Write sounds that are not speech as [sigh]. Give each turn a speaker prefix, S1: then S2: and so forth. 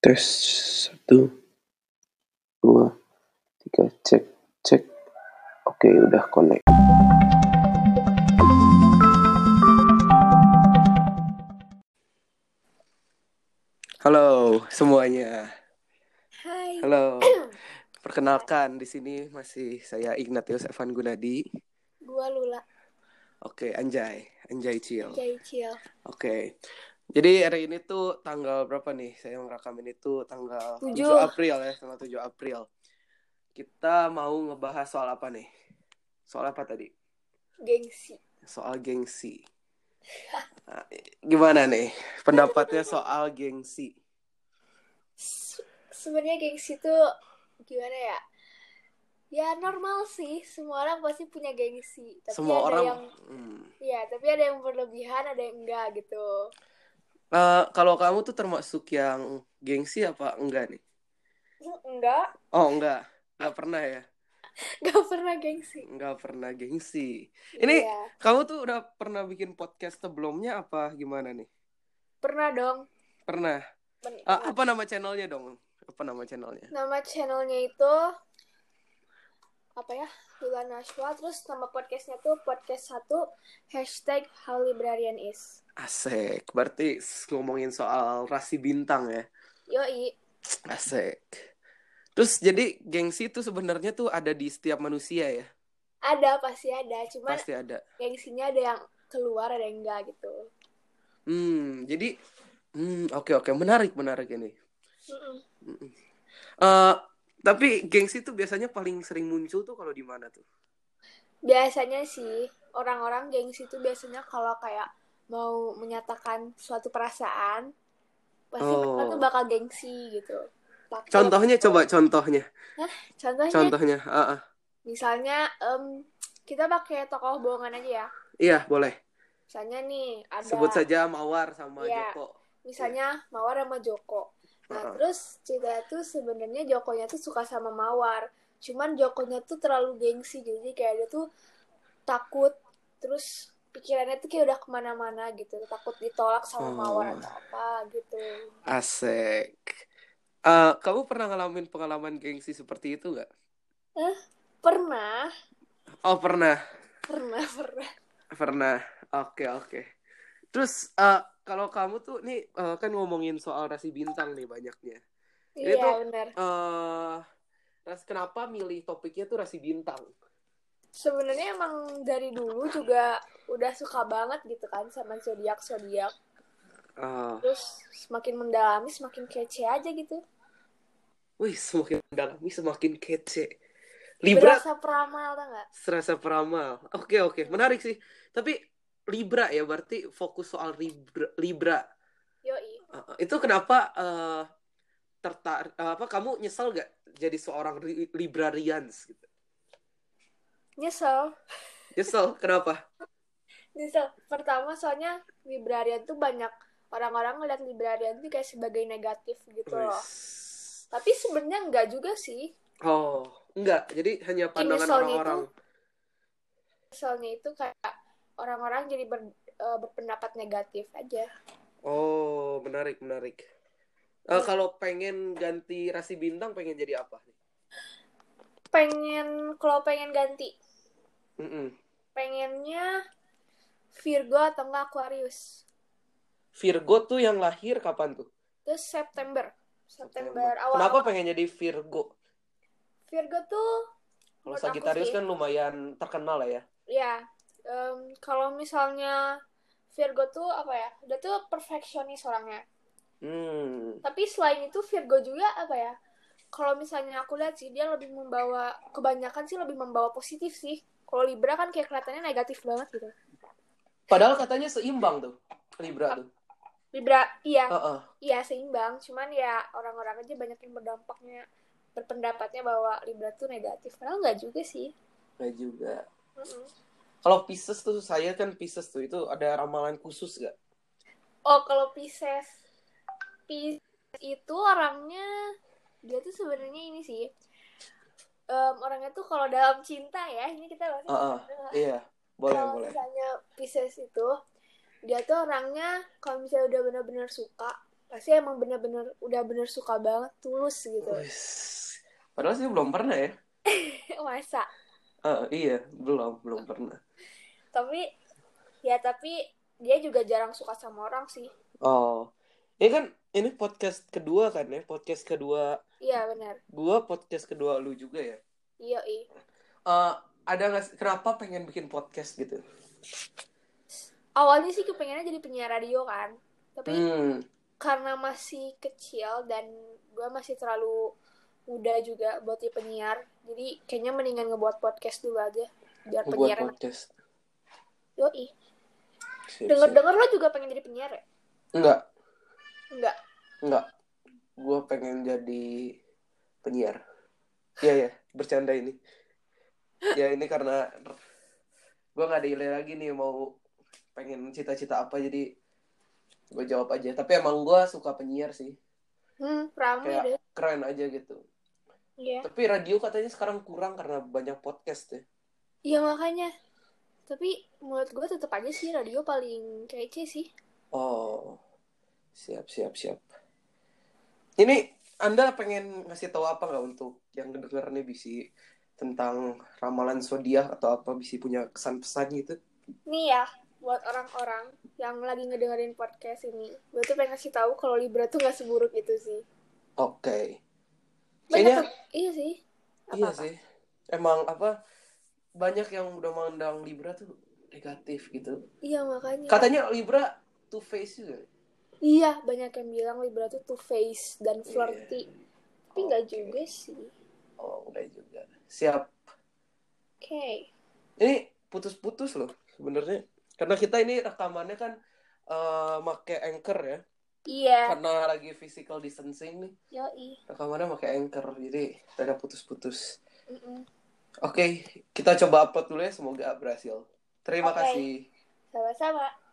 S1: tes satu dua tiga cek cek oke udah connect
S2: Halo semuanya.
S3: Hai.
S2: Halo. Perkenalkan di sini masih saya Ignatius Evan Gunadi.
S3: Gua Lula
S2: Oke, Anjay, Anjay Cil.
S3: Jaicil.
S2: Oke. Jadi hari ini tuh tanggal berapa nih? Saya merekam ini tuh tanggal
S3: Tujuh.
S2: 7 April ya, tanggal 7 April. Kita mau ngebahas soal apa nih? Soal apa tadi?
S3: Gengsi.
S2: Soal gengsi. Nah, Gimana nih pendapatnya soal gengsi?
S3: Se- Sebenarnya gengsi tuh gimana ya? Ya normal sih, semua orang pasti punya gengsi. Tapi
S2: Semua
S3: ada
S2: orang
S3: yang
S2: Hmm.
S3: ya, tapi ada yang berlebihan, ada yang enggak gitu.
S2: Eh, kalau kamu tuh termasuk yang gengsi apa enggak nih?
S3: Enggak,
S2: Oh enggak, enggak pernah ya,
S3: enggak pernah gengsi.
S2: enggak pernah gengsi. Ini-
S3: Iya.
S2: Kamu tuh udah pernah bikin podcast sebelumnya apa gimana nih?
S3: pernah dong.
S2: Pernah.
S3: Men-
S2: Eh, apa nama channelnya dong? Apa nama channelnya?
S3: Nama channelnya itu apa ya? Lula Nashwa. Terus nama podcastnya tuh podcast satu hashtag How Librarian Is.
S2: Asik. Berarti s- ngomongin soal rasi bintang ya.
S3: Yoi.
S2: Asik. Terus jadi gengsi itu sebenarnya tuh ada di setiap manusia ya.
S3: Ada pasti ada, cuman
S2: Pasti ada.
S3: gengsinya ada yang keluar ada yang enggak gitu
S2: Hmm, jadi hmm, oke oke, menarik menarik ini. Eh, tapi gengsi tuh biasanya paling sering muncul tuh kalau di mana tuh?
S3: biasanya sih orang-orang gengsi itu biasanya kalau kayak mau menyatakan suatu perasaan pasti
S2: Oh.
S3: mereka tuh bakal gengsi gitu Takut.
S2: Contohnya coba contohnya.
S3: contohnya
S2: Contohnya, ah, ah.
S3: misalnya em, kita pakai tokoh bohongan aja ya
S2: Iya, boleh.
S3: misalnya nih ada
S2: Sebut saja Mawar sama
S3: Iya.
S2: Joko. Ah,
S3: misalnya Mawar sama Joko nah
S2: Heeh.
S3: terus cerita tuh sebenarnya Jokonya tuh suka sama Mawar cuman Jokonya tuh terlalu gengsi jadi kayak dia tuh takut terus pikirannya tuh kayak udah kemana-mana gitu takut ditolak sama
S2: Oh.
S3: Mawar atau apa gitu
S2: Asik. Eh, kamu pernah ngalamin pengalaman gengsi seperti itu nggak?
S3: pernah
S2: Oh, pernah.
S3: pernah [laughs] pernah
S2: Pernah. Oke, oke. Terus, eh, kalau kamu tuh nih eh, kan ngomongin soal rasi bintang nih banyaknya. Ini
S3: iya
S2: tuh-
S3: benar
S2: Eh, ras kenapa milih topiknya tuh rasi bintang?
S3: sebenarnya emang dari dulu juga udah suka banget gitu kan sama zodiak zodiak
S2: Ah,
S3: terus semakin mendalami semakin kece aja gitu
S2: wih, semakin mendalami semakin kece. Libra
S3: berasa peramal tau nggak
S2: serasa peramal. Oke, oke. Menarik sih. Tapi Libra ya, berarti fokus soal Libra. Libra.
S3: yoi
S2: Uh, itu kenapa eh tertarik apa kamu nyesel gak jadi seorang ri- librarians gitu?
S3: nyesel
S2: Nyesel kenapa?
S3: Nyesel. Gitu. Pertama soalnya librarian tuh banyak orang-orang ngeliat librarian tuh kayak sebagai negatif gitu loh.
S2: Wis.
S3: Tapi sebenarnya enggak juga sih.
S2: Oh, enggak. Jadi hanya pandangan
S3: nyeselnya
S2: orang-orang.
S3: Soalnya itu kayak orang-orang jadi ber- eh, berpendapat negatif aja.
S2: Oh, menarik, menarik. Eh, kalau pengen ganti rasi bintang pengen jadi apa?
S3: Pengen kalau pengen ganti,
S2: Mm-mm.
S3: pengennya Virgo atau enggak Aquarius.
S2: Virgo tuh yang lahir kapan tuh?
S3: Terus September. September awal.
S2: Kenapa pengen jadi Virgo?
S3: Virgo tuh
S2: Kalau
S3: Menurut aku
S2: Sagittarius
S3: sih.
S2: kan lumayan terkenal lah ya.
S3: ya em, kalau misalnya Virgo tuh apa ya? Dia tuh perfeksionis orangnya.
S2: Hmm.
S3: tapi selain itu Virgo juga apa ya kalau misalnya aku lihat sih dia lebih membawa kebanyakan sih lebih membawa positif sih kalau Libra kan kayak kelihatannya negatif banget gitu
S2: Padahal katanya seimbang tuh Libra tuh.
S3: Libra iya
S2: Heeh.
S3: iya seimbang cuman ya orang-orang aja banyak yang berdampaknya berpendapatnya bahwa Libra tuh negatif padahal nggak juga sih
S2: Nggak juga.
S3: Mm-mm.
S2: Kalau Pisces tuh saya kan Pisces tuh itu ada ramalan khusus gak?
S3: oh kalau Pisces Pisces itu orangnya dia tuh sebenarnya ini sih Em, orangnya tuh kalau dalam cinta ya ini kita bahasnya
S2: Heeh.
S3: cinta doang.
S2: Iya, boleh
S3: kalau
S2: boleh.
S3: misalnya Pisces itu dia tuh orangnya kalau misalnya udah benar-benar suka pasti emang bener-bener udah bener suka banget tulus gitu [laughs]
S2: Wis. Padahal sih belum pernah ya.
S3: masa
S2: Eh, iya, belum, belum pernah.
S3: tapi ya tapi dia juga jarang suka sama orang sih
S2: Oh. Ini kan ini podcast kedua kan ya? Podcast kedua
S3: iya benar
S2: gua, podcast kedua lu juga ya.
S3: iya i
S2: Eh, ada nggak sih- kenapa pengen bikin podcast gitu?
S3: awalnya sih kepengennya jadi penyiar radio kan tapi
S2: Hmm.
S3: karena masih kecil dan gue masih terlalu muda juga buat jadi penyiar jadi kayaknya mendingan ngebuat podcast dulu aja biar
S2: Buat
S3: penyiar enak
S2: podcast. Iya
S3: yoi
S2: Siap,
S3: denger
S2: siap.
S3: denger lo juga pengen jadi penyiar ya
S2: Enggak,
S3: enggak
S2: enggak. Gua pengen jadi penyiar. Iya ya, bercanda ini. Ya ini karena gua nggak ada ide lagi nih mau pengen cita-cita apa jadi gue jawab aja. Tapi emang gua suka penyiar sih.
S3: hmm rame
S2: Kayak-
S3: deh
S2: Keren aja gitu.
S3: iya
S2: Tapi radio katanya sekarang kurang karena banyak podcast ya.
S3: iya makanya tapi menurut gue tetap aja sih radio paling kece sih
S2: Oh, siap siap siap. Ini Anda pengen ngasih tahu apa nggak untuk yang denger nih bisi tentang ramalan zodiak atau apa bisi punya kesan pesan gitu?
S3: nih ya buat orang-orang yang lagi ngedengerin podcast ini gue tuh pengen kasih tahu kalau libra tuh nggak seburuk itu sih
S2: Oke.
S3: banyak
S2: Kayaknya
S3: iya sih
S2: iya
S3: Apa-apa?
S2: sih. Emang apa banyak yang udah mandang Libra tuh negatif gitu.
S3: iya makanya
S2: Katanya Libra two face juga.
S3: Iya, banyak yang bilang Libra tuh two face dan
S2: Iya.
S3: flirty. Tapi nggak juga sih.
S2: Oh, udah juga. Siap.
S3: Oke.
S2: ini putus-putus loh sebenarnya karena kita ini rekamannya kan eh make anchor ya
S3: Iya,
S2: karena lagi physical distancing nih
S3: yoi.
S2: rekamannya make anchor jadi ada putus-putus
S3: Mm-mm.
S2: oke kita coba upload dulu ya semoga berhasil terima
S3: Oke.
S2: kasih
S3: Sama-sama.